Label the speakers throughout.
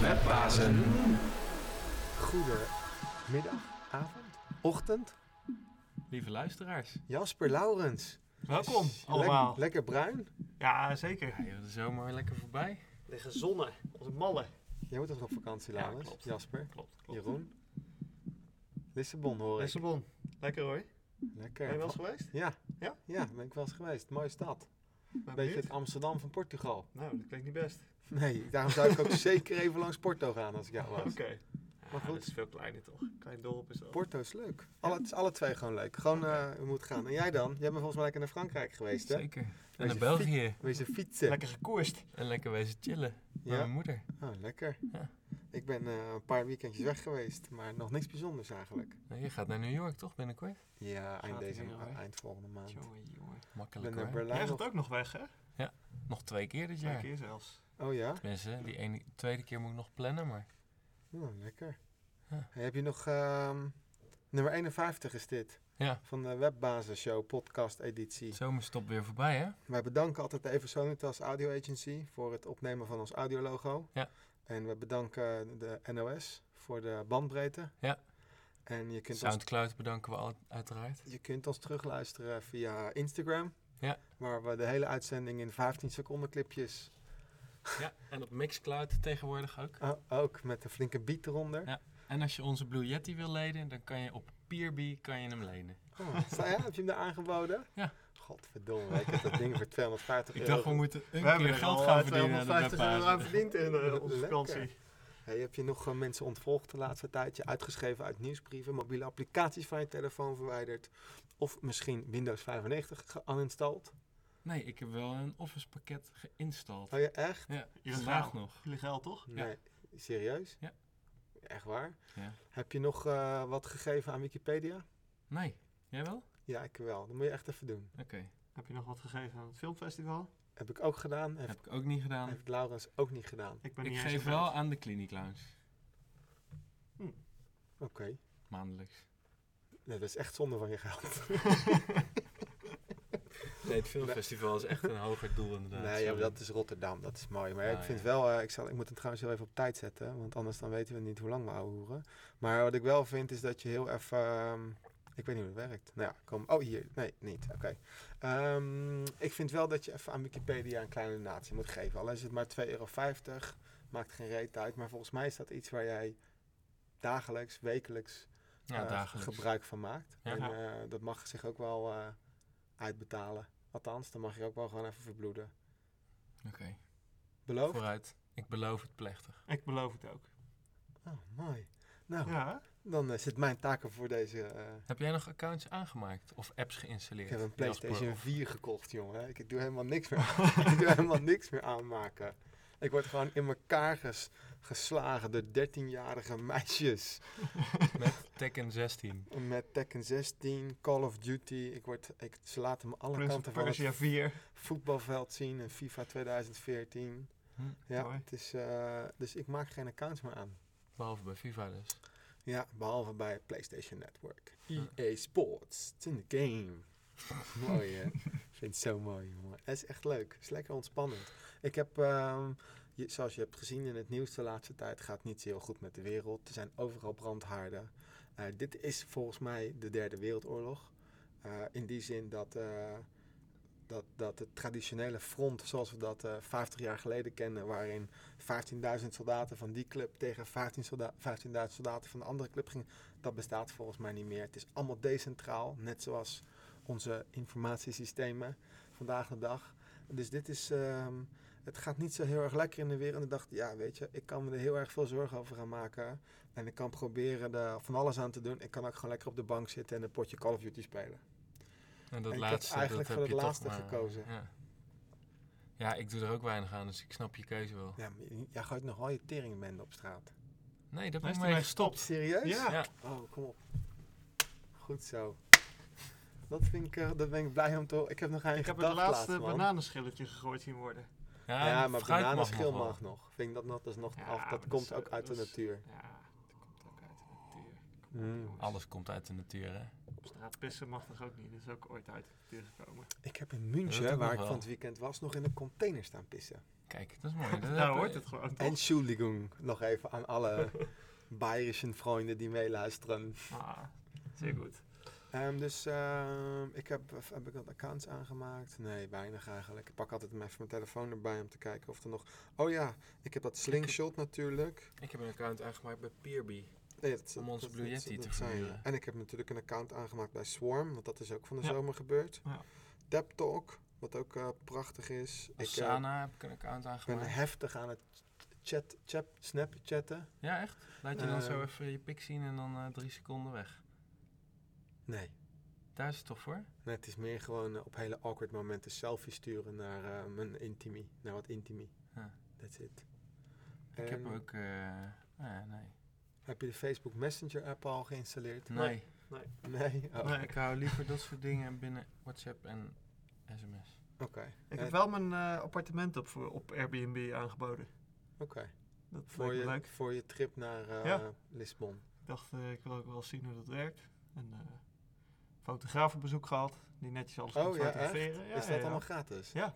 Speaker 1: blazen.
Speaker 2: Goedemiddag, avond, ochtend.
Speaker 1: Lieve luisteraars,
Speaker 2: Jasper Laurens.
Speaker 1: welkom
Speaker 2: Lek-
Speaker 3: Allemaal.
Speaker 2: lekker bruin.
Speaker 3: Ja, zeker.
Speaker 1: Ja, joh, de zomer weer lekker voorbij.
Speaker 3: De gezonnen, onze mallen.
Speaker 2: Jij moet toch op vakantie,
Speaker 1: Ja,
Speaker 2: Laurens?
Speaker 1: klopt.
Speaker 2: Jasper,
Speaker 1: Klopt, klopt.
Speaker 2: Jeroen. Lissabon hoor ik.
Speaker 3: Lissabon. Lekker hoor. Ben je wel
Speaker 2: Lekker.
Speaker 3: eens geweest?
Speaker 2: Ja.
Speaker 3: Ja?
Speaker 2: Ja, ben ik wel eens geweest. Mooie stad.
Speaker 3: Ben
Speaker 2: Beetje
Speaker 3: benieuwd.
Speaker 2: het Amsterdam van Portugal.
Speaker 3: Nou, dat klinkt niet best.
Speaker 2: Nee, daarom zou ik ook zeker even langs Porto gaan als ik jou was.
Speaker 3: Oké. dus-
Speaker 2: Maar
Speaker 1: Ja,
Speaker 2: goed.
Speaker 1: dat is veel kleiner toch?
Speaker 3: Klein dorp is dat.
Speaker 2: Porto is leuk. Alle, het is alle twee gewoon leuk. Gewoon, eh we moeten gaan. En jij dan? Jij bent volgens mij lekker naar Frankrijk geweest, hè?
Speaker 1: Zeker. En
Speaker 2: Wees
Speaker 1: naar
Speaker 2: een
Speaker 1: België.
Speaker 2: Wees een fietsen.
Speaker 3: Lekker gekoerst.
Speaker 1: En lekker wezen chillen. Bij
Speaker 2: Ja.
Speaker 1: mijn moeder.
Speaker 2: Oh, lekker.
Speaker 1: Ja.
Speaker 2: Ik ben eh, een paar weekendjes weg geweest, maar nog niks bijzonders eigenlijk.
Speaker 1: Nou, je gaat naar New York toch binnenkort?
Speaker 2: Ja, eind,
Speaker 1: Gaat nou
Speaker 2: deze,
Speaker 1: ie alweer?
Speaker 2: eind volgende maand.
Speaker 1: Jongen, jongen.
Speaker 2: Ik
Speaker 1: Makkelijk
Speaker 2: ben naar
Speaker 1: hoor.
Speaker 3: Jij
Speaker 2: Berlijn.
Speaker 3: gaat
Speaker 2: nog-
Speaker 3: ook nog weg, hè?
Speaker 1: Nog twee keer dit
Speaker 3: Twee
Speaker 1: jaar.
Speaker 3: keer zelfs.
Speaker 2: Oh ja?
Speaker 1: Tenminste, die ene, tweede keer moet ik nog plannen, maar...
Speaker 2: Oh, lekker.
Speaker 1: Ja.
Speaker 2: Hey, heb je nog... ehm, nummer 51 is dit.
Speaker 1: Ja.
Speaker 2: Van de Webbasis Show podcast editie.
Speaker 1: Zomerstop weer voorbij, hè?
Speaker 2: Wij bedanken altijd de Eversonitas Audio Agency voor het opnemen van ons audiologo.
Speaker 1: Ja.
Speaker 2: En we bedanken de NOS voor de bandbreedte.
Speaker 1: Ja.
Speaker 2: En je kunt, ons,
Speaker 1: Soundcloud bedanken we al, uiteraard.
Speaker 2: je kunt ons terugluisteren via Instagram.
Speaker 1: Ja.
Speaker 2: Waar we de hele uitzending in 15 seconden clipjes,
Speaker 1: Ja, en op Mixcloud tegenwoordig ook.
Speaker 2: ah, ook met een flinke beat eronder.
Speaker 1: Ja. En als je onze Blue Yeti wil lenen, dan kan je op Peerby kan je hem lenen.
Speaker 2: Oh, sta- ja, heb je hem daar aangeboden?
Speaker 1: Ja.
Speaker 2: Godverdomme, ik heb dat ding voor 250
Speaker 1: Ik
Speaker 2: euro.
Speaker 1: dacht, we moeten een
Speaker 3: We hebben
Speaker 1: keer
Speaker 3: er
Speaker 1: geld
Speaker 3: al,
Speaker 1: gaan
Speaker 3: eh,
Speaker 1: verdienen aan de
Speaker 3: 250 euro aan
Speaker 1: webbasis.
Speaker 3: verdiend in eh, onze
Speaker 2: Lekker.
Speaker 3: vakantie.
Speaker 2: Hey, heb je nog eh, mensen ontvolgd de laatste tijd? Je uitgeschreven uit nieuwsbrieven, mobiele applicaties van je telefoon verwijderd? Of misschien Windows 95 geuninstalleerd?
Speaker 1: Nee, ik heb wel een Office pakket geïnstalleerd.
Speaker 2: Oh je echt?
Speaker 1: Ja,
Speaker 3: Illegaal.
Speaker 1: vandaag nog.
Speaker 3: Illegaal, toch?
Speaker 1: Ja.
Speaker 2: Nee, serieus?
Speaker 1: Ja.
Speaker 2: Echt waar?
Speaker 1: Ja.
Speaker 2: Heb je nog eh, wat gegeven aan Wikipedia?
Speaker 1: Nee, jij wel? Oké.
Speaker 2: Ja, ik wel. Dat moet je echt even doen.
Speaker 3: Heb je nog wat gegeven aan het filmfestival?
Speaker 2: Heb ik ook gedaan. Heb,
Speaker 1: Heb ik ook niet gedaan.
Speaker 2: heeft Laurens ook niet gedaan.
Speaker 3: Ik ben
Speaker 1: Ik
Speaker 3: niet eens
Speaker 1: geef
Speaker 3: gebeld.
Speaker 1: wel aan de Clinic Lounge,
Speaker 3: Hm.
Speaker 2: Oké.
Speaker 1: maandelijks.
Speaker 2: Nee, dat is echt zonde van je geld.
Speaker 1: Nee, het filmfestival is echt een hoger doel inderdaad.
Speaker 2: nee, ja, maar dat is Rotterdam. Dat is mooi. Maar eh, ja,
Speaker 1: Ah,
Speaker 2: ik vind
Speaker 1: ja.
Speaker 2: wel... eh, ik, zal, ik moet het trouwens heel even op tijd zetten. Want anders dan weten we niet hoe lang we ouwehoeren. Maar wat ik wel vind is dat je heel even... ehm, ik weet niet hoe het werkt. Nou ja, kom. Oh, hier. Nee, niet. Oké. Ehm, ik vind wel dat je even aan Wikipedia een kleine donatie moet geven. Al is het maar 2,50 euro. Maakt geen reet uit. Maar volgens mij is dat iets waar jij dagelijks, wekelijks,
Speaker 1: Ja,
Speaker 2: eh,
Speaker 1: dagelijks.
Speaker 2: gebruik van maakt.
Speaker 1: Ja.
Speaker 2: En eh, dat mag zich ook wel eh, uitbetalen. Althans, dan mag je ook wel gewoon even verbloeden.
Speaker 1: Oké,
Speaker 2: Beloofd?
Speaker 1: vooruit. Ik beloof het plechtig.
Speaker 3: Ik beloof het ook.
Speaker 2: Oh, mooi. Nou,
Speaker 3: Ja, hè?
Speaker 2: dan eh, zit mijn taken voor deze. eh,
Speaker 1: Heb jij nog accounts aangemaakt of apps geïnstalleerd?
Speaker 2: ik heb een
Speaker 1: Jasper,
Speaker 2: PlayStation
Speaker 1: of-
Speaker 2: 4 gekocht, jongen. Ik doe helemaal niks meer. ik doe helemaal niks meer aanmaken. Ik word gewoon in elkaar ges- geslagen door 13-jarige meisjes.
Speaker 1: Met Tekken 16.
Speaker 2: Met Tekken 16, Call of Duty. Ik word, ik, ze laten me alle
Speaker 3: Prince
Speaker 2: kanten
Speaker 3: of
Speaker 2: van
Speaker 3: Persia
Speaker 2: het
Speaker 3: 4.
Speaker 2: voetbalveld zien. En FIFA 2014.
Speaker 1: Hm,
Speaker 2: Ja,
Speaker 3: mooi.
Speaker 2: het is, eh, dus ik maak geen accounts meer aan.
Speaker 1: Behalve bij FIFA dus.
Speaker 2: Ja, behalve bij PlayStation Network. EA Sports, it's in the game. mooi hè? Ik vind het zo mooi, jongen. Het is echt leuk. Het is lekker ontspannend. Ik heb, ehm, je- zoals je hebt gezien in het nieuws de laatste tijd, gaat niet zo heel goed met de wereld. Er zijn overal brandhaarden. Eh, dit is volgens mij de derde wereldoorlog. Eh, in die zin dat, eh, dat, dat het traditionele front, zoals we dat eh 50 jaar geleden kennen, waarin 15.000 soldaten van die club tegen 15 solda- 15.000 soldaten van de andere club gingen, dat bestaat volgens mij niet meer. Het is allemaal decentraal, net zoals onze informatiesystemen vandaag de dag. Dus dit is, ehm, het gaat niet zo heel erg lekker in de wereld. En ik dacht, ja, weet je, ik kan me er heel erg veel zorgen over gaan maken. En ik kan proberen er van alles aan te doen. Ik kan ook gewoon lekker op de bank zitten en een potje Call of Duty spelen.
Speaker 1: En dat
Speaker 2: En ik heb
Speaker 1: laatste,
Speaker 2: eigenlijk
Speaker 1: dat
Speaker 2: voor
Speaker 1: heb
Speaker 2: het
Speaker 1: je
Speaker 2: laatste
Speaker 1: toch maar,
Speaker 2: gekozen.
Speaker 1: Ja. ja, ik doe er ook weinig aan, dus ik snap je keuze wel.
Speaker 2: Ja, maar j- jij gooit nog wel je teringbende op straat.
Speaker 1: Nee, dat ben
Speaker 3: Hij
Speaker 1: ik
Speaker 3: is ermee
Speaker 1: mee gestopt.
Speaker 2: Serieus?
Speaker 3: Ja.
Speaker 1: Ja.
Speaker 2: Oh, kom op. Goed zo. Dat, vind ik, eh, dat ben ik blij om te horen. Ik heb nog aan je
Speaker 3: Ik heb het
Speaker 2: gedacht
Speaker 3: laatste
Speaker 2: laatst, man.
Speaker 3: bananenschilletje gegooid zien worden.
Speaker 1: Ja,
Speaker 2: Ja,
Speaker 1: de
Speaker 2: maar
Speaker 1: fruit
Speaker 2: bananenschil
Speaker 1: nog wel.
Speaker 2: mag nog. Vind ik dat, nog- dat is nog
Speaker 3: Ja,
Speaker 2: af.
Speaker 3: maar
Speaker 2: Dat
Speaker 3: dat
Speaker 2: komt
Speaker 3: is, eh,
Speaker 2: ook uit de
Speaker 3: dat is-
Speaker 2: natuur.
Speaker 3: Ja, dat komt ook uit de natuur.
Speaker 2: Mm.
Speaker 1: Alles komt uit de natuur, hè?
Speaker 3: Straatpissen mag toch ook niet. Dat is ook ooit uit tegengekomen.
Speaker 2: Ik heb in
Speaker 1: Dat
Speaker 2: München,
Speaker 1: ook
Speaker 2: waar
Speaker 1: nog
Speaker 2: ik
Speaker 1: wel.
Speaker 2: van het weekend was, nog in een container staan pissen.
Speaker 1: Kijk, dat is mooi. Dat heb-
Speaker 3: Daar Nou, hoort het gewoon toch?
Speaker 2: En Schuldigung nog even aan alle Bayerischen vrienden die meeluisteren.
Speaker 3: Ah, zeer goed.
Speaker 2: Ehm, dus ehm, ik heb, of heb ik wat accounts aangemaakt? Nee, weinig eigenlijk. Ik pak altijd even mijn telefoon erbij om te kijken of er nog... Oh ja, ik heb dat slingshot natuurlijk.
Speaker 1: Ik heb een account aangemaakt bij Peerby.
Speaker 2: Nee, dat,
Speaker 1: Om onze Blue Yeti te
Speaker 2: zijn we.
Speaker 1: verhuren.
Speaker 2: En ik heb natuurlijk een account aangemaakt bij Swarm, want dat is ook van de
Speaker 3: Ja.
Speaker 2: zomer gebeurd.
Speaker 3: Ja.
Speaker 2: Tap Talk, wat ook eh, prachtig is. Ik eh,
Speaker 1: Asana Dus heb ik een account
Speaker 2: ben
Speaker 1: aangemaakt.
Speaker 2: heftig aan het chat, chat, snapchatten.
Speaker 1: Ja, echt? Laat je dan zo
Speaker 2: Eh,
Speaker 1: even je pik zien en dan eh, drie seconden weg.
Speaker 2: Nee,
Speaker 1: Daar is het toch voor?
Speaker 2: nee, het is meer gewoon eh, op hele awkward momenten selfie sturen naar eh, mijn intimi, naar wat intimi.
Speaker 1: Ja.
Speaker 2: That's it.
Speaker 1: Ik heb
Speaker 2: En
Speaker 1: ook... eh, ah, nee.
Speaker 2: Heb je de Facebook Messenger app al geïnstalleerd?
Speaker 1: Nee.
Speaker 2: Nee? Oh,
Speaker 3: Nee.
Speaker 1: Ik hou liever dat soort dingen binnen WhatsApp en sms.
Speaker 2: oké.
Speaker 3: Ik
Speaker 2: Eh,
Speaker 3: heb wel mijn eh, appartement op, voor- op Airbnb aangeboden.
Speaker 2: Oké,
Speaker 3: Dat
Speaker 2: voor,
Speaker 3: leek me
Speaker 2: je-
Speaker 3: leuk.
Speaker 2: voor je trip naar eh,
Speaker 3: Ja.
Speaker 2: Lisbon.
Speaker 3: Ik dacht, eh, ik wil ook wel zien hoe dat werkt. En eh fotograaf op bezoek gehad, die netjes alles
Speaker 2: Oh,
Speaker 3: kan
Speaker 2: ja, echt?
Speaker 3: fotograferen. Ja,
Speaker 2: is dat
Speaker 3: ja, ja.
Speaker 2: allemaal gratis?
Speaker 3: Ja,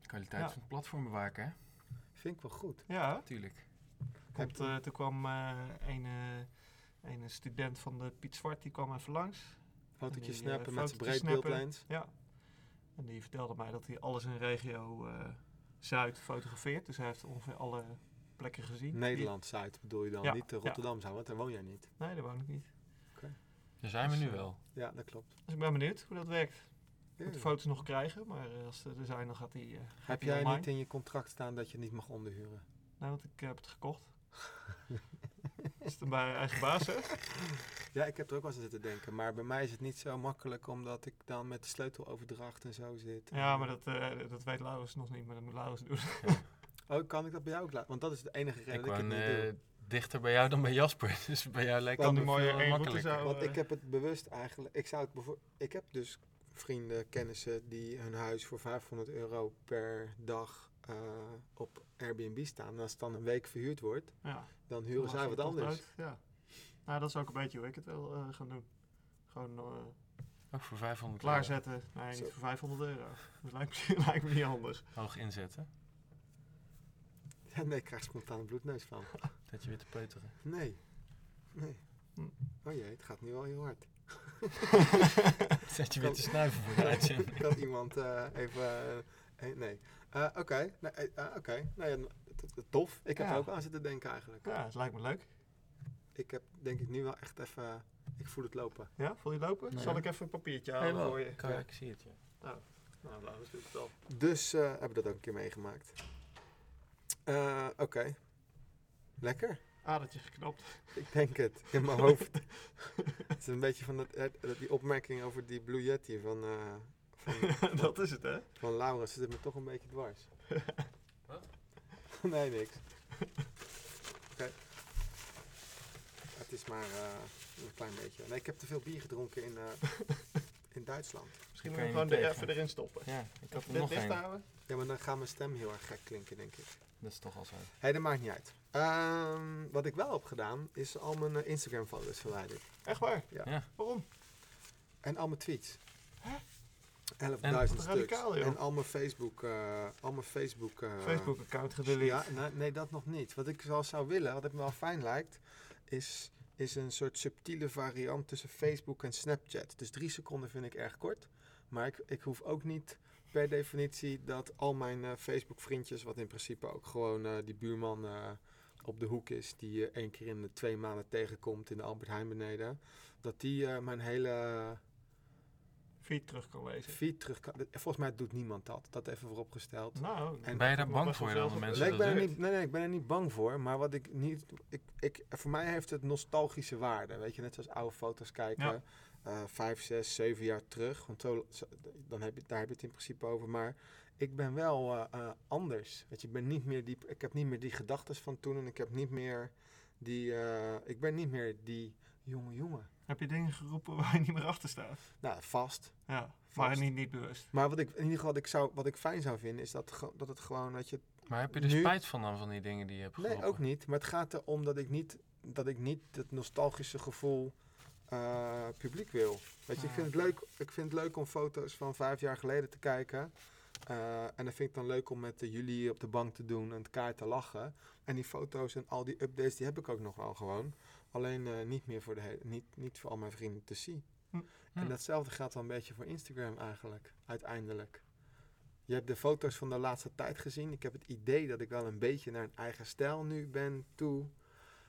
Speaker 1: De kwaliteit
Speaker 3: Ja.
Speaker 1: van het platform bewaken, hè?
Speaker 2: Vind ik wel goed.
Speaker 3: ja.
Speaker 1: Tuurlijk.
Speaker 3: Komt, eh, toen kwam eh, een, eh, een student van de Piet Zwart, die kwam even langs.
Speaker 2: Fotootjes
Speaker 3: Die, eh,
Speaker 2: snappen met zijn
Speaker 3: fotootjes
Speaker 2: breedbeeldlens.
Speaker 3: Ja. En die vertelde mij dat hij alles in regio eh, Zuid fotografeert. Dus hij heeft ongeveer alle plekken gezien.
Speaker 2: Nederland Zuid bedoel je dan,
Speaker 3: Ja,
Speaker 2: niet eh,
Speaker 3: ja.
Speaker 2: Rotterdam Zuid, want daar woon jij niet.
Speaker 3: Die- nee, daar woon ik niet.
Speaker 1: Daar zijn we
Speaker 3: Dus,
Speaker 1: nu
Speaker 3: eh,
Speaker 1: wel.
Speaker 2: Ja, dat klopt.
Speaker 3: Dus ik ben benieuwd hoe dat werkt. Ik moet
Speaker 2: Ja.
Speaker 3: de foto's nog krijgen, maar eh, als ze er zijn, dan gaat die... eh, gaat
Speaker 2: Heb
Speaker 3: die
Speaker 2: jij
Speaker 3: online.
Speaker 2: niet in je contract staan dat je het niet mag onderhuren?
Speaker 3: Nee, want ik heb het gekocht. Is het bij eigen baas, hè?
Speaker 2: Ja, ik heb er ook wel eens aan zitten denken, maar bij mij is het niet zo makkelijk omdat ik dan met de sleuteloverdracht en zo zit.
Speaker 3: Ja, maar dat, eh, dat weet Laurens nog niet, maar dat moet Laurens doen.
Speaker 2: Oh, kan ik dat bij jou ook laten? Want dat is de enige reden
Speaker 1: Ik
Speaker 2: dat ik het
Speaker 1: woon
Speaker 2: niet
Speaker 1: eh,
Speaker 2: doe.
Speaker 1: dichter bij jou dan bij Jasper. Dus bij jou lijkt
Speaker 2: Kan
Speaker 1: het
Speaker 2: die
Speaker 1: me
Speaker 3: mooie
Speaker 1: veel
Speaker 3: één route
Speaker 1: makkelijker.
Speaker 3: zou-
Speaker 2: Want
Speaker 3: eh,
Speaker 2: ik heb het bewust eigenlijk, ik zou het bijvoor- ik heb dus vrienden, kennissen die hun huis voor 500 euro per dag eh, op Airbnb staan. En als het dan een week verhuurd wordt,
Speaker 3: Ja.
Speaker 2: dan huren zij
Speaker 3: Laat
Speaker 2: wat
Speaker 3: ze het
Speaker 2: anders.
Speaker 3: uit, Ja. Nou, dat is ook een beetje hoe ik het wil eh, gaan doen. Gewoon eh,
Speaker 1: Ook voor 500 euro.
Speaker 3: klaarzetten. Nee,
Speaker 2: Zo.
Speaker 3: niet voor 500 euro. Dat lijkt me, lijkt me niet handig.
Speaker 1: Hoog inzetten.
Speaker 2: Ja, nee, ik krijg spontaan een bloedneus van.
Speaker 1: Dat je weer te peuteren.
Speaker 2: Nee. Nee.
Speaker 3: Hm.
Speaker 2: Oh jee, het gaat nu wel heel hard.
Speaker 1: Dat je weer te snuiven voor de uitzending.
Speaker 2: Kan iemand eh, even... eh, eh, nee. Eh, Oké, nee, eh, eh, oké. nou ja, t- t- tof. Ik heb
Speaker 3: Ja.
Speaker 2: er ook aan zitten denken eigenlijk.
Speaker 3: Ja, het lijkt me leuk.
Speaker 2: Ik heb denk ik nu wel echt even... Ik voel het lopen.
Speaker 3: Ja, voel je lopen?
Speaker 1: Nee.
Speaker 3: Zal ik even een papiertje halen
Speaker 1: Jawel.
Speaker 3: voor je?
Speaker 1: Kan- Ik zie het, ja.
Speaker 3: Nou, Laurens doet het al.
Speaker 2: Dus eh, hebben we dat ook een keer meegemaakt. Eh, oké. Lekker.
Speaker 3: Adertje geknapt.
Speaker 2: Ik denk het. In mijn hoofd. het is een beetje van dat, eh, dat die opmerking over die Blue Yeti van, eh, van,
Speaker 3: dat is het, hè?
Speaker 2: van Laurens. zit me toch een beetje dwars. Nee, niks. Oké. Het is maar eh, een klein beetje. Nee, ik heb te veel bier gedronken in, eh, in Duitsland.
Speaker 1: kan
Speaker 3: Misschien moet je
Speaker 1: je
Speaker 3: gewoon
Speaker 1: niet
Speaker 3: er
Speaker 1: tegen.
Speaker 3: even erin stoppen.
Speaker 1: Ja, ik had er
Speaker 3: Dit
Speaker 1: nog
Speaker 3: dicht
Speaker 1: één.
Speaker 3: houden.
Speaker 2: Ja, maar dan gaat mijn stem heel erg gek klinken, denk ik.
Speaker 1: Dat is toch al zo.
Speaker 2: Hé, dat maakt niet uit. Ehm, wat ik wel heb gedaan, is al mijn eh, Instagram-foto's verwijderd.
Speaker 3: Echt waar?
Speaker 2: Ja.
Speaker 1: Ja.
Speaker 3: Waarom?
Speaker 2: En al mijn tweets.
Speaker 3: Hè?
Speaker 2: 11.000
Speaker 3: Wat
Speaker 2: stuks.
Speaker 3: radicaal, joh.
Speaker 2: en al mijn Facebook... eh, al mijn Facebook... eh,
Speaker 3: Facebook-account gedeleteerd.
Speaker 2: Ja, nee, nee, dat nog niet. Wat ik wel zou willen, wat het me wel fijn lijkt, is, is een soort subtiele variant tussen Facebook en Snapchat. Dus drie seconden vind ik erg kort. Maar ik, ik hoef ook niet per definitie dat al mijn eh, Facebook-vriendjes, wat in principe ook gewoon eh, die buurman eh, op de hoek is, die je één keer in de twee maanden tegenkomt in de Albert Heijn beneden, dat die eh, mijn hele
Speaker 3: feed terug kan lezen.
Speaker 2: feed terug kan. Volgens mij doet niemand dat. Dat even vooropgesteld.
Speaker 3: Nou,
Speaker 2: En-
Speaker 1: Ben je daar
Speaker 3: Nog
Speaker 1: bang
Speaker 3: best wel
Speaker 1: voor dan
Speaker 3: veel
Speaker 1: de mensen
Speaker 2: Nee,
Speaker 1: dat
Speaker 2: ik ben er
Speaker 1: doen?
Speaker 2: niet, nee, nee, ik ben er niet bang voor. Maar wat ik niet. Ik, ik, voor mij heeft het nostalgische waarde. Weet je, net zoals oude foto's kijken.
Speaker 3: Ja.
Speaker 2: eh, vijf, zes, zeven jaar terug. Want zo, zo- dan heb je, daar heb je het in principe over. Maar ik ben wel eh, eh, anders. Weet je, ik, ben niet meer die, ik heb niet meer die gedachten van toen. En ik heb niet meer die. eh, ik ben niet meer die jonge jongen.
Speaker 3: heb je dingen geroepen waar je niet meer achter staat?
Speaker 2: Nou, vast.
Speaker 3: Ja, maar
Speaker 2: Vast.
Speaker 3: niet, niet bewust.
Speaker 2: Maar wat ik in ieder geval wat ik, zou, wat ik fijn zou vinden, is dat, ge- dat het gewoon dat je
Speaker 1: Maar heb je er
Speaker 2: Nu-
Speaker 1: spijt van dan, van die dingen die je hebt
Speaker 2: Nee,
Speaker 1: geroepen?
Speaker 2: ook niet. Maar het gaat erom dat ik niet, dat ik niet het nostalgische gevoel eh, publiek wil. Weet je, ik vind, het leuk, ik vind het leuk om foto's van vijf jaar geleden te kijken. Eh, en dat vind ik dan leuk om met eh, jullie op de bank te doen en het kaart te lachen. En die foto's en al die updates, die heb ik ook nog wel gewoon. Alleen eh, niet meer voor, de hele- niet, niet voor al mijn vrienden te zien.
Speaker 3: Hm,
Speaker 2: En datzelfde geldt wel een beetje voor Instagram eigenlijk, uiteindelijk. Je hebt de foto's van de laatste tijd gezien. Ik heb het idee dat ik wel een beetje naar een eigen stijl nu ben toe.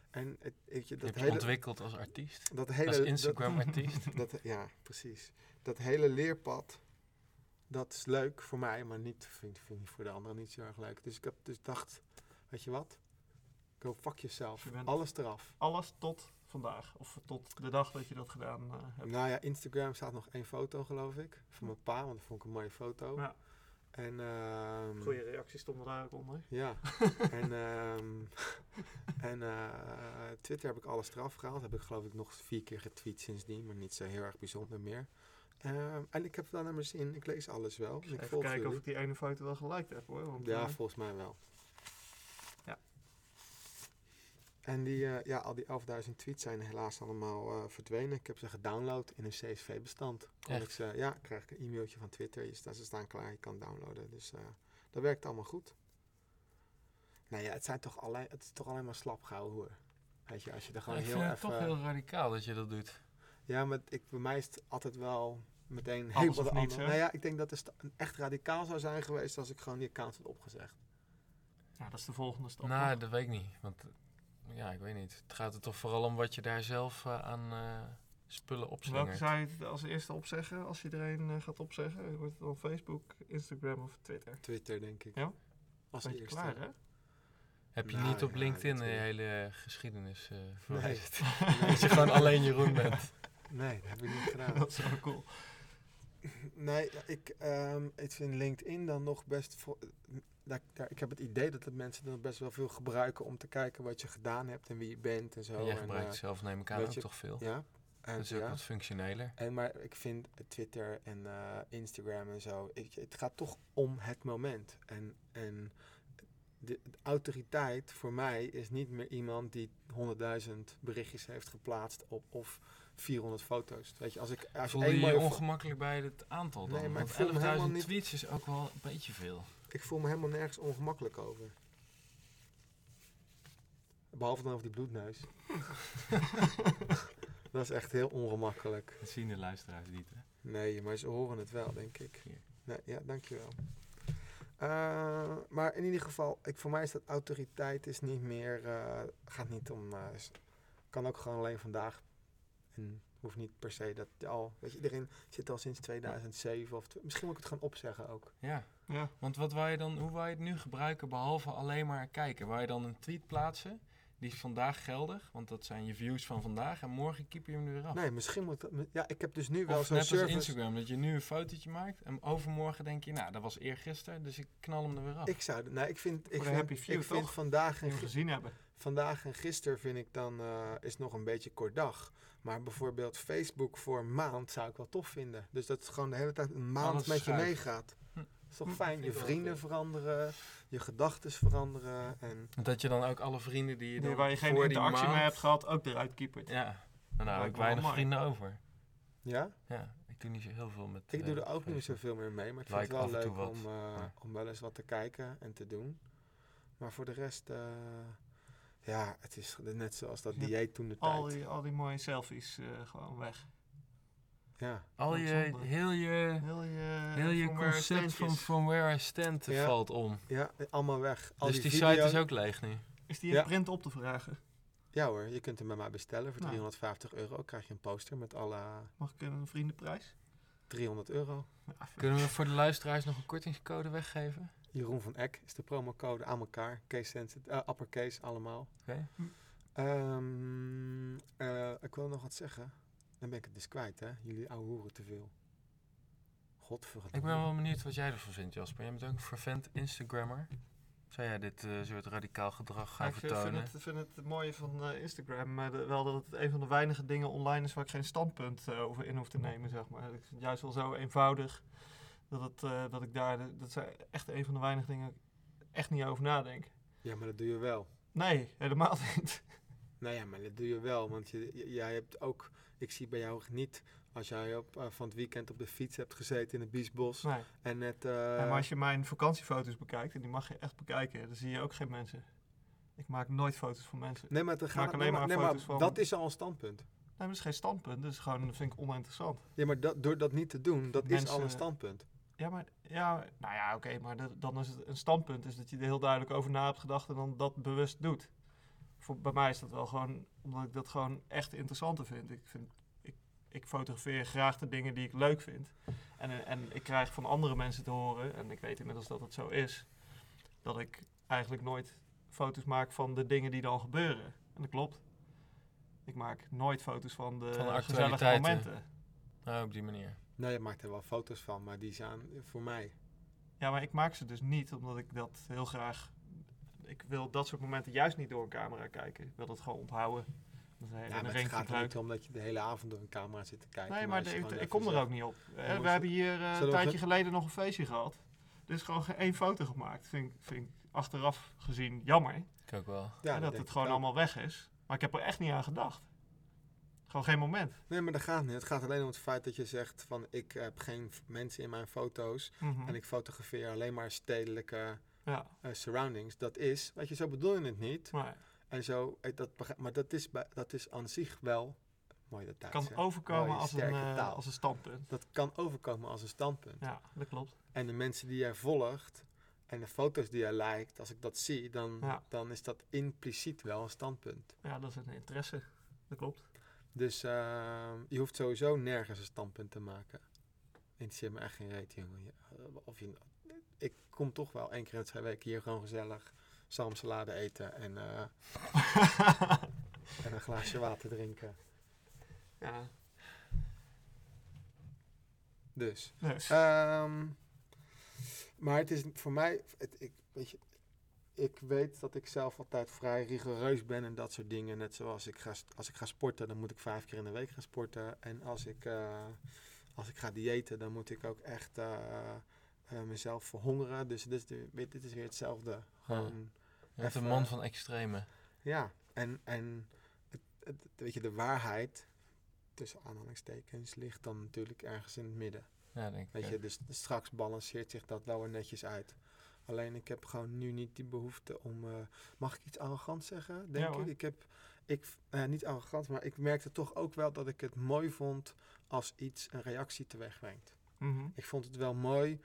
Speaker 2: En het, weet je,
Speaker 1: Dat heb
Speaker 2: dat
Speaker 1: je
Speaker 2: hele...
Speaker 1: ontwikkeld als artiest.
Speaker 2: Dat hele
Speaker 1: als
Speaker 2: dat-
Speaker 1: Instagram-artiest.
Speaker 2: dat, ja, precies. Dat hele leerpad, dat is leuk voor mij, maar niet, vind, vind ik voor de anderen niet zo erg leuk. Dus ik heb dus dacht, weet je wat? Go fuck
Speaker 3: Dus je
Speaker 2: yourself.
Speaker 3: bent-
Speaker 2: Alles eraf.
Speaker 3: Alles tot vandaag. Of tot de dag dat je dat gedaan eh, hebt.
Speaker 2: Nou ja, Instagram staat nog één foto, geloof ik. Van mijn pa, want dat vond ik een mooie foto.
Speaker 3: Hm. Ja.
Speaker 2: En, ehm,
Speaker 3: Goede reacties stonden daar ook onder.
Speaker 2: Ja. en ehm, en eh, Twitter heb ik alles eraf gehaald. Heb ik geloof ik nog vier keer getweet sindsdien, maar niet zo heel erg bijzonder meer. Ehm, en ik heb het wel naar mijn zin. Ik lees alles wel. Dus Ik
Speaker 3: Even
Speaker 2: volg
Speaker 3: kijken of
Speaker 2: jullie.
Speaker 3: ik die ene foto wel geliked heb hoor. Want,
Speaker 2: Ja,
Speaker 3: eh,
Speaker 2: volgens mij wel.
Speaker 3: Ja.
Speaker 2: En die, eh, ja, al die 11.000 tweets zijn helaas allemaal eh, verdwenen. Ik heb ze gedownload in een CSV-bestand. Ik
Speaker 1: Echt?
Speaker 2: ze, ja, krijg ik een e-mailtje van Twitter. Je staat, ze staan klaar, je kan downloaden. Dus eh, dat werkt allemaal goed. Nou ja, het, zijn toch alleen, het is toch alleen maar slap gehouden hoor. Weet je, als je er gewoon
Speaker 1: ik vind
Speaker 2: heel
Speaker 1: het
Speaker 2: even...
Speaker 1: toch heel radicaal dat je dat doet.
Speaker 2: Ja, maar ik, bij mij is het altijd wel meteen
Speaker 3: Alles
Speaker 2: helemaal de
Speaker 3: of niets,
Speaker 2: andere.
Speaker 3: hè?
Speaker 2: Nou ja, ik denk dat het sta- echt radicaal zou zijn geweest als ik gewoon die account had opgezegd.
Speaker 3: ja, dat is de volgende stap.
Speaker 1: nou,
Speaker 3: toch?
Speaker 1: dat weet ik niet. Want eh, ja, ik weet niet. Het gaat er toch vooral om wat je daar zelf eh, aan eh, spullen
Speaker 3: Welke
Speaker 1: opslingert.
Speaker 3: zou je het als eerste opzeggen? Als je er een eh, gaat opzeggen, wordt het dan Facebook, Instagram of Twitter?
Speaker 2: Twitter, denk ik.
Speaker 3: Ja?
Speaker 2: Als
Speaker 3: Ben je
Speaker 2: eerste.
Speaker 3: klaar, hè?
Speaker 1: Heb je
Speaker 2: Nou,
Speaker 1: niet op
Speaker 2: ja,
Speaker 1: LinkedIn de
Speaker 2: natuurlijk.
Speaker 1: hele geschiedenis eh
Speaker 2: Nee.
Speaker 1: verwijderd? dat je gewoon alleen Jeroen bent.
Speaker 2: Nee, dat heb ik niet gedaan.
Speaker 3: dat is wel cool.
Speaker 2: Nee, ja, ik, ehm, ik vind LinkedIn dan nog best... Voor, daar, daar- ik heb het idee dat het mensen dan best wel veel gebruiken om te kijken wat je gedaan hebt en wie je bent en zo.
Speaker 1: Jij
Speaker 2: en,
Speaker 1: gebruikt
Speaker 2: eh,
Speaker 1: zelf, neem ik aan,
Speaker 2: weet
Speaker 1: ook
Speaker 2: je-
Speaker 1: toch veel.
Speaker 2: Ja. En,
Speaker 1: dat is ook
Speaker 2: ja.
Speaker 1: wat functioneler.
Speaker 2: En, maar ik vind Twitter en eh, Instagram en zo, ik, het gaat toch om het moment. En, en de, de autoriteit voor mij is niet meer iemand die 100.000 berichtjes heeft geplaatst op, of 400 foto's. Weet je, als ik, als je
Speaker 1: Voelde je
Speaker 2: één mooie
Speaker 1: je
Speaker 2: fo-
Speaker 1: ongemakkelijk bij het aantal dan?
Speaker 2: Nee, maar ik voel me helemaal
Speaker 1: Want 11.000
Speaker 2: niet-
Speaker 1: tweets is ook wel een beetje veel.
Speaker 2: Ik voel me helemaal nergens ongemakkelijk over. Behalve dan over die bloedneus. dat is echt heel ongemakkelijk.
Speaker 1: Dat zien de luisteraars niet, hè?
Speaker 2: Nee, maar ze horen het wel, denk ik.
Speaker 1: Hier.
Speaker 2: Nee, ja, dankjewel. Eh, maar in ieder geval, ik, voor mij is dat autoriteit is niet meer... eh, gaat niet om... eh, s- kan ook gewoon alleen vandaag. En hoeft niet per se dat je al... Weet je, iedereen zit al sinds 2007 of... tw- Misschien moet ik het gaan opzeggen ook.
Speaker 1: Ja,
Speaker 3: Ja.
Speaker 1: want wat wou je dan, hoe wou je het nu gebruiken behalve alleen maar kijken? Wou je dan een tweet plaatsen? Die is vandaag geldig, want dat zijn je views van vandaag. En morgen keep je hem er weer af.
Speaker 2: Nee, misschien moet... dat- Ja, ik heb dus nu wel
Speaker 1: of
Speaker 2: zo'n
Speaker 1: net als
Speaker 2: service...
Speaker 1: Instagram, dat je nu een fotootje maakt. En overmorgen denk je, nou, dat was eergisteren, dus ik knal hem er weer af.
Speaker 2: Ik zou... Nou, ik vind... Ik
Speaker 3: de
Speaker 2: vind,
Speaker 3: happy few,
Speaker 2: ik vind
Speaker 3: toch?
Speaker 2: vandaag... en
Speaker 3: Geen
Speaker 2: gi-
Speaker 3: gezien hebben.
Speaker 2: Vandaag en gisteren vind ik dan eh, is nog een beetje kort dag. Maar bijvoorbeeld Facebook voor een maand zou ik wel tof vinden. Dus dat het gewoon de hele tijd een maand
Speaker 1: Alles
Speaker 2: met je
Speaker 1: schuift.
Speaker 2: meegaat.
Speaker 1: Hm.
Speaker 2: is toch
Speaker 3: Hm.
Speaker 2: fijn?
Speaker 1: Vind
Speaker 2: Je
Speaker 1: ik wel
Speaker 2: vrienden
Speaker 1: oké.
Speaker 2: veranderen, je gedachten veranderen. En
Speaker 1: Dat je dan ook alle vrienden die je dan
Speaker 3: Die waar je geen
Speaker 1: voor die
Speaker 3: interactie mee
Speaker 1: maand-
Speaker 3: hebt gehad, ook eruit keepert.
Speaker 1: Ja, nou, nou
Speaker 3: Lijkt
Speaker 1: heb
Speaker 3: me
Speaker 1: ik
Speaker 3: wel
Speaker 1: weinig
Speaker 3: mooi.
Speaker 1: vrienden over.
Speaker 2: ja,
Speaker 1: Ja, ik doe niet zo heel veel met...
Speaker 2: ik doe
Speaker 1: eh,
Speaker 2: er ook niet
Speaker 1: Facebook.
Speaker 2: zoveel meer mee. Maar ik vind
Speaker 1: Like
Speaker 2: het
Speaker 1: af en
Speaker 2: wel
Speaker 1: toe
Speaker 2: leuk
Speaker 1: wat,
Speaker 2: om, eh,
Speaker 1: maar-
Speaker 2: om wel eens wat te kijken en te doen. Maar voor de rest, eh, ja, het is net zoals dat
Speaker 3: Je hebt
Speaker 2: dieet toen de
Speaker 3: Al
Speaker 2: tijd.
Speaker 3: die, al die mooie selfies eh, gewoon weg.
Speaker 2: Ja.
Speaker 1: Al je,
Speaker 3: Zonde.
Speaker 1: heel je,
Speaker 3: Heel je,
Speaker 1: heel je
Speaker 3: From Where I Stand
Speaker 1: concept van
Speaker 3: is.
Speaker 1: From Where I Stand eh,
Speaker 2: Ja.
Speaker 1: valt om.
Speaker 2: ja, allemaal weg. Al
Speaker 1: dus die, site
Speaker 2: video-
Speaker 1: is ook leeg nu.
Speaker 3: Is die in
Speaker 2: Ja.
Speaker 3: print op te vragen?
Speaker 2: Ja hoor, je kunt hem bij mij bestellen. Voor
Speaker 3: Nou.
Speaker 2: 350 euro krijg je een poster met alle
Speaker 3: Mag ik een vriendenprijs?
Speaker 2: 300 euro.
Speaker 3: Ja, vind-
Speaker 1: Kunnen we voor de luisteraars nog een kortingscode weggeven?
Speaker 2: Jeroen van Eck is de promocode aan elkaar. Case sensitive, eh, uppercase allemaal.
Speaker 1: Oké.
Speaker 2: Ehm, eh, ik wil nog wat zeggen. Dan ben ik het dus kwijt hè. Jullie ouwe hoeren te veel. Godverdomme.
Speaker 1: Ik ben wel benieuwd wat jij ervan vindt, Jasper. Jij bent ook een fervent Instagrammer. Zou jij dit eh, soort radicaal gedrag
Speaker 3: Ja,
Speaker 1: gaan
Speaker 3: ik eh, vind vind
Speaker 1: vertonen?
Speaker 3: het, vind het mooie van eh, Instagram eh, de- wel dat het een van de weinige dingen online is waar ik geen standpunt eh, over in hoef te nemen, zeg maar. Ik vind het juist wel zo eenvoudig dat, het, eh, dat ik daar, de- dat zijn echt een van de weinige dingen waar ik echt niet over nadenk.
Speaker 2: Ja, maar dat doe je wel.
Speaker 3: Nee, helemaal niet.
Speaker 2: Nou ja, maar dat doe je wel. Want je, j- jij hebt ook... Ik zie bij jou niet als jij op, eh, van het weekend op de fiets hebt gezeten in het biesbos
Speaker 3: Nee.
Speaker 2: en net... eh,
Speaker 3: Ja, maar als je mijn vakantiefoto's bekijkt, en die mag je echt bekijken, dan zie je ook geen mensen. Ik maak nooit foto's van mensen. Nee,
Speaker 2: Nee, maar, dan gaat
Speaker 3: maak
Speaker 2: het-
Speaker 3: alleen
Speaker 2: nee,
Speaker 3: maar
Speaker 2: nee,
Speaker 3: foto's van-
Speaker 2: dat is al een standpunt.
Speaker 3: maar dat is geen standpunt, dat is gewoon, dat vind ik oninteressant.
Speaker 2: Ja, maar dat, door dat niet te doen, dat is al een
Speaker 3: Mensen-
Speaker 2: standpunt.
Speaker 3: Ja, maar, ja, nou ja, oké, maar dat- dan is het een standpunt, is dat je er heel duidelijk over na hebt gedacht en dan dat bewust doet. Voor, bij mij is dat wel gewoon, omdat ik dat gewoon echt interessanter vind. Ik, vind, ik, ik fotografeer graag de dingen die ik leuk vind. En, eh, en ik krijg van andere mensen te horen, en ik weet inmiddels dat het zo is, dat ik eigenlijk nooit foto's maak van de dingen die dan gebeuren. En dat klopt. Ik maak nooit foto's van de,
Speaker 1: Van de
Speaker 3: gezellige
Speaker 1: actualiteiten.
Speaker 3: momenten.
Speaker 1: Ah, op die manier.
Speaker 2: Nou, je maakt er wel foto's van, maar die zijn voor mij.
Speaker 3: Ja, maar ik maak ze dus niet, omdat ik dat heel graag... Ik wil dat soort momenten juist niet door een camera kijken. Ik wil dat gewoon onthouden. Dat is een
Speaker 2: Ja, maar het
Speaker 3: ring
Speaker 2: gaat er
Speaker 3: gebruikt.
Speaker 2: niet om dat je de hele avond door een camera zit te kijken.
Speaker 3: Nee, maar
Speaker 2: als je
Speaker 3: de-
Speaker 2: gewoon
Speaker 3: ik
Speaker 2: even
Speaker 3: kom er
Speaker 2: zegt-
Speaker 3: ook niet op. Eh,
Speaker 2: Dan moet
Speaker 3: we
Speaker 2: je-
Speaker 3: hebben hier eh,
Speaker 2: Zullen
Speaker 3: een
Speaker 2: we
Speaker 3: tijdje
Speaker 2: ge-
Speaker 3: geleden nog een feestje gehad. Er is gewoon geen één foto gemaakt. Vind ik, vind ik achteraf gezien jammer.
Speaker 1: Ik ook wel.
Speaker 2: Ja,
Speaker 3: hè, dat
Speaker 2: denk
Speaker 3: het
Speaker 2: ik
Speaker 3: gewoon
Speaker 2: ook.
Speaker 3: allemaal weg is. Maar ik heb er echt niet aan gedacht. Gewoon geen moment.
Speaker 2: Nee, maar dat gaat niet. Het gaat alleen om het feit dat je zegt van ik heb geen f- mensen in mijn foto's
Speaker 3: Mhm.
Speaker 2: en ik fotografeer alleen maar stedelijke
Speaker 3: Ja,
Speaker 2: eh, surroundings. Dat is, weet je, zo bedoel je het niet.
Speaker 3: maar
Speaker 2: En zo, eh, dat, bega- maar dat is, bij- dat is aan zich wel mooi dat
Speaker 3: het
Speaker 2: Duits,
Speaker 3: kan
Speaker 2: hè.
Speaker 3: overkomen
Speaker 2: Mooie,
Speaker 3: als een,
Speaker 2: sterke
Speaker 3: eh,
Speaker 2: taal.
Speaker 3: als een standpunt.
Speaker 2: Dat kan overkomen als een standpunt.
Speaker 3: Ja, dat klopt.
Speaker 2: En de mensen die jij volgt en de foto's die jij lijkt, als ik dat zie, dan,
Speaker 3: Ja.
Speaker 2: dan is dat impliciet wel een standpunt.
Speaker 3: Ja, dat is een interesse. Dat klopt.
Speaker 2: Dus ehm, je hoeft sowieso nergens een standpunt te maken. Interesseert me echt geen reet, jongen. Je- eh, Of je, ik kom toch wel één keer in de twee weken hier gewoon gezellig salmsalade eten en, eh, en een glaasje water drinken.
Speaker 3: ja,
Speaker 2: Dus.
Speaker 3: dus.
Speaker 2: Ehm, maar het is voor mij, het, ik, weet je, ik weet dat ik zelf altijd vrij rigoureus ben en dat soort dingen. Net zoals ik ga, st- als ik ga sporten, dan moet ik vijf keer in de week gaan sporten. En als ik, eh, als ik ga diëten, dan moet ik ook echt eh, eh, mezelf verhongeren. Dus dit is, de- weer- dit is weer hetzelfde. Gewoon,
Speaker 1: Je bent een
Speaker 2: Even,
Speaker 1: man
Speaker 2: eh,
Speaker 1: van extreme.
Speaker 2: ja, en, en het, het- weet je, de waarheid, tussen aanhalingstekens, ligt dan natuurlijk ergens in het midden.
Speaker 1: Ja, denk ik.
Speaker 2: Weet
Speaker 1: ook.
Speaker 2: je, dus straks balanceert zich dat wel weer netjes uit. Alleen ik heb gewoon nu niet die behoefte om. eh, mag ik iets arrogant zeggen? Denk
Speaker 3: hoor.
Speaker 2: ik. Ik heb. Ik, eh, niet arrogant, maar ik merkte toch ook wel dat ik het mooi vond als iets een reactie teweegbrengt.
Speaker 3: Mhm.
Speaker 2: Ik vond het wel mooi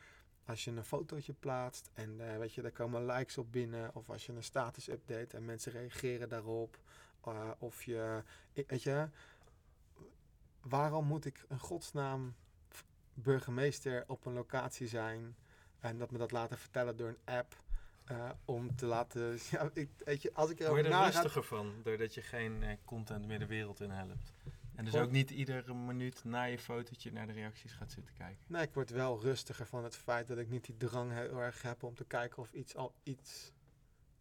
Speaker 2: als je een fotootje plaatst en eh, weet je, daar komen likes op binnen. Of als je een status update en mensen reageren daarop. Eh, of je, i- weet je, waarom moet ik in godsnaam f- burgemeester op een locatie zijn en dat me dat laten vertellen door een app? eh, om te laten. Ja, ik, weet je, als ik
Speaker 1: Word
Speaker 2: erover
Speaker 1: je er
Speaker 2: na ga.
Speaker 1: rustiger van, doordat je geen eh, content meer de wereld in helpt. En dus
Speaker 2: Klopt.
Speaker 1: ook niet iedere minuut na je fotootje naar de reacties gaat zitten kijken.
Speaker 2: Nee, ik word wel rustiger van het feit dat ik niet die drang heel erg heb om te kijken of iets al iets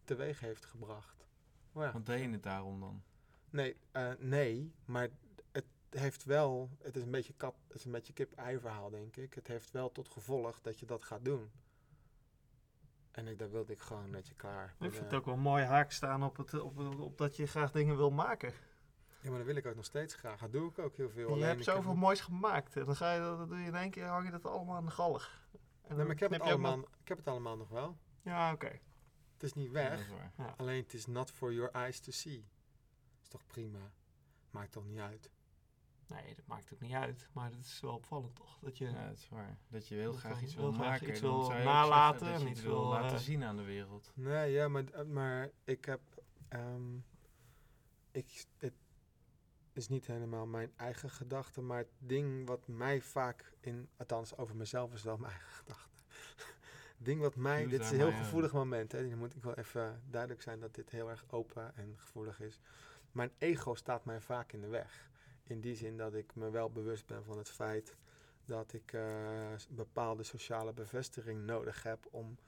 Speaker 2: teweeg heeft gebracht. Maar ja.
Speaker 1: Want deed je het daarom dan?
Speaker 2: Nee, eh, nee, maar het heeft wel, het is een beetje, kat, het is een beetje kip-ei verhaal, denk ik. Het heeft wel tot gevolg dat je dat gaat doen. En ik, daar wilde ik gewoon dat je klaar.
Speaker 3: Ik
Speaker 2: met,
Speaker 3: vind het
Speaker 2: eh,
Speaker 3: ook wel een mooi haak staan op, het, op, op dat je graag dingen wil maken.
Speaker 2: Ja, maar dat wil ik ook nog steeds graag. Dat doe ik ook heel veel.
Speaker 3: je
Speaker 2: alleen
Speaker 3: hebt
Speaker 2: ik heb-
Speaker 3: zoveel moois gemaakt. En dan ga je dat, dat doe je in één keer hang je dat allemaal aan de galg. En
Speaker 2: Nee, maar ik heb, het
Speaker 3: knip je ook nog-
Speaker 2: allemaal, ik heb het allemaal nog wel.
Speaker 3: Ja, oké.
Speaker 2: Het is niet
Speaker 1: Dat
Speaker 2: weg,
Speaker 1: is waar.
Speaker 2: alleen het is not for your eyes to see. Is toch prima? Maakt toch niet uit?
Speaker 3: Nee, dat maakt ook niet uit. Maar dat is wel opvallend toch? Dat je,
Speaker 1: Ja, dat is waar. Dat je heel
Speaker 3: Dat
Speaker 1: graag
Speaker 3: wil-
Speaker 1: iets
Speaker 3: heel
Speaker 1: wil
Speaker 3: graag
Speaker 1: maken.
Speaker 3: iets
Speaker 1: dan
Speaker 3: wil
Speaker 1: zou je ook
Speaker 3: nalaten
Speaker 1: zeggen dat
Speaker 3: en
Speaker 1: je
Speaker 3: iets
Speaker 1: iets wil
Speaker 3: wil, eh,
Speaker 1: laten zien aan de wereld.
Speaker 2: Nee, ja, maar, d- eh, maar ik heb. ehm, ik, het is niet helemaal mijn eigen gedachte, maar het ding wat mij vaak in. Althans, over mezelf is wel mijn eigen gedachte. Het ding wat mij.
Speaker 1: Doe
Speaker 2: dit is
Speaker 1: daar
Speaker 2: een heel
Speaker 1: maar aan.
Speaker 2: gevoelig moment. Hè. Dan moet ik wel even duidelijk zijn dat dit heel erg open en gevoelig is. Mijn ego staat mij vaak in de weg. In die zin dat ik me wel bewust ben van het feit dat ik eh, s- bepaalde sociale bevestiging nodig heb om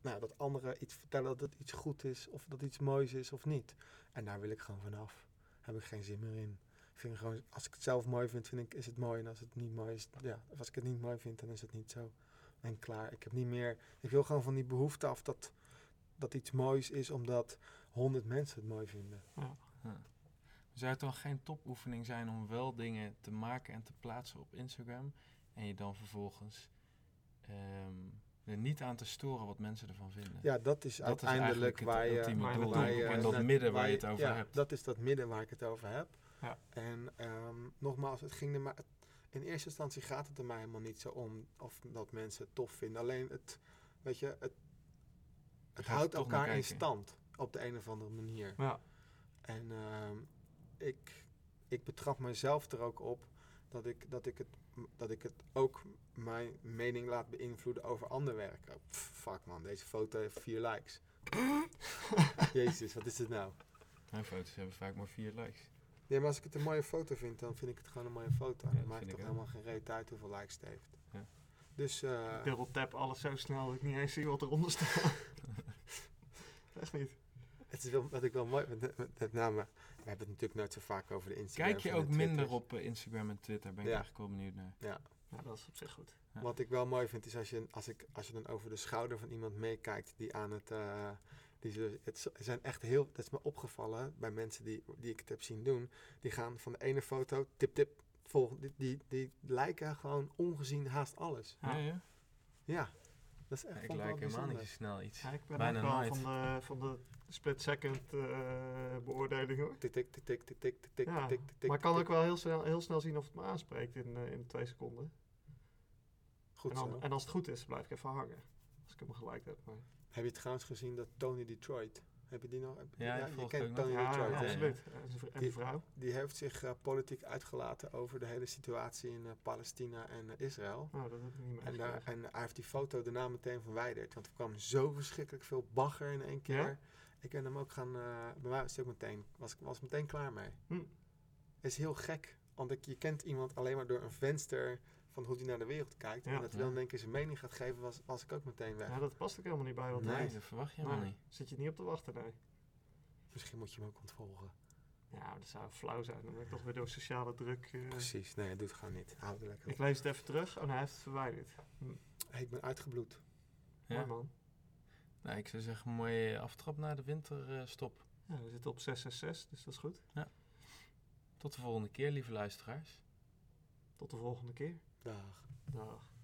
Speaker 2: nou, dat anderen iets vertellen dat het iets goed is of dat iets moois is of niet. En daar wil ik gewoon vanaf. Heb ik geen zin meer in. Ik Vind gewoon, als ik het zelf mooi vind, vind ik, is het mooi. En als het niet mooi is, ja, of als ik het niet mooi vind, dan is het niet zo. En klaar. Ik heb niet meer. Ik wil gewoon van die behoefte af dat, dat iets moois is omdat honderd mensen het mooi vinden.
Speaker 1: Zou het dan geen topoefening zijn om wel dingen te maken en te plaatsen op Instagram en je dan vervolgens ehm, er niet aan te storen wat mensen ervan vinden?
Speaker 2: Ja, dat is
Speaker 1: Dat is
Speaker 2: uiteindelijk
Speaker 1: eigenlijk het
Speaker 2: waar je...
Speaker 1: ultieme
Speaker 3: waar je
Speaker 1: doel
Speaker 3: naartoe
Speaker 1: en
Speaker 3: moet.
Speaker 1: dat
Speaker 2: net-
Speaker 1: midden waar je het over
Speaker 2: ja,
Speaker 1: hebt.
Speaker 2: dat is dat midden waar ik het over heb.
Speaker 3: Ja.
Speaker 2: En ehm, nogmaals, het ging er maar... In eerste instantie gaat het er mij helemaal niet zo om of dat mensen het tof vinden. Alleen het, weet je, het, het
Speaker 1: gaat er
Speaker 2: houdt
Speaker 1: toch naar
Speaker 2: elkaar in
Speaker 1: kijken.
Speaker 2: stand op de een of andere manier.
Speaker 3: Ja.
Speaker 2: En ehm, ik, ik betrap mezelf er ook op dat ik, dat, ik het, dat ik het ook mijn mening laat beïnvloeden over ander werk. Oh, pff, fuck man, deze foto heeft vier likes. Jezus, wat is dit nou?
Speaker 1: Mijn foto's hebben vaak maar vier likes.
Speaker 2: Nee, maar als ik het een mooie foto vind, dan vind ik het gewoon een mooie foto.
Speaker 1: Ja,
Speaker 2: dan
Speaker 1: dat
Speaker 2: maakt
Speaker 1: vind
Speaker 2: toch
Speaker 1: ik ook.
Speaker 2: helemaal geen reet uit hoeveel likes het heeft.
Speaker 1: Ja.
Speaker 2: Dus eh,
Speaker 3: Ik Double tap alles zo snel dat ik niet eens zie wat eronder staat. Echt niet.
Speaker 2: het is wel, wat ik wel mooi met, met, met name, we hebben het natuurlijk nooit zo vaak over de Instagram.
Speaker 1: Kijk je
Speaker 2: en de
Speaker 1: ook minder
Speaker 2: Twitters.
Speaker 1: op eh, Instagram en Twitter? Ben ik
Speaker 2: Ja.
Speaker 1: eigenlijk wel benieuwd naar.
Speaker 3: Ja, dat is op zich goed.
Speaker 1: Ja.
Speaker 2: Wat ik wel mooi vind is als je, als ik, als je dan over de schouder van iemand meekijkt die aan het. eh, die ze, het z- zijn echt heel. Dat is me opgevallen bij mensen die, die ik het heb zien doen. Die gaan van de ene foto, tip tip, volg, die, die, die lijken gewoon ongezien haast alles.
Speaker 3: Ja.
Speaker 1: Ja, ja.
Speaker 2: Ja, dat is echt.
Speaker 1: Ik
Speaker 2: vond ik wel
Speaker 1: like helemaal niet
Speaker 2: bijzonder.
Speaker 1: zo snel iets.
Speaker 3: Ja, ik ben
Speaker 1: Bijna
Speaker 3: ook wel
Speaker 1: nooit.
Speaker 3: van de, van de split second eh, beoordeling hoor.
Speaker 2: Tik, tik, tik, tik, tik, tik, tik, tik,
Speaker 3: Ja,
Speaker 2: tik, tik, tik,
Speaker 3: maar ik kan
Speaker 2: tik.
Speaker 3: ook wel heel snel, heel snel zien of het me aanspreekt in, eh, in twee seconden.
Speaker 2: Goed
Speaker 3: en,
Speaker 2: zo.
Speaker 3: dan, en als het goed is, blijf ik even hangen. Als ik hem gelijk heb. Maar,
Speaker 2: Heb je trouwens gezien dat Tony Detroit. Heb je die nog? heb-
Speaker 1: Ja, die volg
Speaker 2: je
Speaker 1: ik
Speaker 2: kent
Speaker 1: ook nog.
Speaker 2: Tony
Speaker 3: ja,
Speaker 2: Detroit,
Speaker 1: ja,
Speaker 2: hè?
Speaker 1: ja.
Speaker 3: absoluut. En zijn vr- En
Speaker 2: Die-
Speaker 3: een vrouw.
Speaker 2: Die heeft zich eh, politiek uitgelaten over de hele situatie in eh, Palestina en eh, Israël.
Speaker 3: Nou, dat heb ik niet meer.
Speaker 2: En, daar-
Speaker 3: gekregen.
Speaker 2: en hij heeft die foto daarna meteen verwijderd. Want er kwam zo verschrikkelijk veel bagger in één keer.
Speaker 3: Ja?
Speaker 2: Ik ben hem ook gaan... eh bij mij was het ook meteen... Was ik was meteen klaar mee.
Speaker 3: Hm.
Speaker 2: is heel gek. Want ik, je kent iemand alleen maar door een venster... van hoe die naar de wereld kijkt.
Speaker 3: Ja.
Speaker 2: en dat hij dan in één keer zijn mening gaat geven... was, was ik ook meteen weg.
Speaker 3: ja, dat past ook helemaal niet bij wat hij
Speaker 1: Nee,
Speaker 2: Nee.
Speaker 3: deed.
Speaker 1: dat verwacht je helemaal
Speaker 3: Nee.
Speaker 1: niet.
Speaker 3: Zit je niet op te wachten, nee.
Speaker 2: Misschien moet je hem ook ontvolgen.
Speaker 3: Ja, dat zou flauw zijn. Dan ben ik toch weer door sociale druk. eh,
Speaker 2: Precies. Nee, doe het gewoon niet. Houd er lekker
Speaker 3: Ik
Speaker 2: op.
Speaker 3: lees het even terug. Oh, nee, hij heeft het verwijderd.
Speaker 2: Hey, ik ben uitgebloed.
Speaker 1: Ja.
Speaker 3: Mooi man.
Speaker 1: Nou, ik zou zeggen, mooie aftrap na de winterstop.
Speaker 3: Ja, we zitten op 666, dus dat is goed.
Speaker 1: Tot de volgende keer, lieve luisteraars.
Speaker 3: Tot de volgende keer.
Speaker 2: Dag.
Speaker 3: Dag.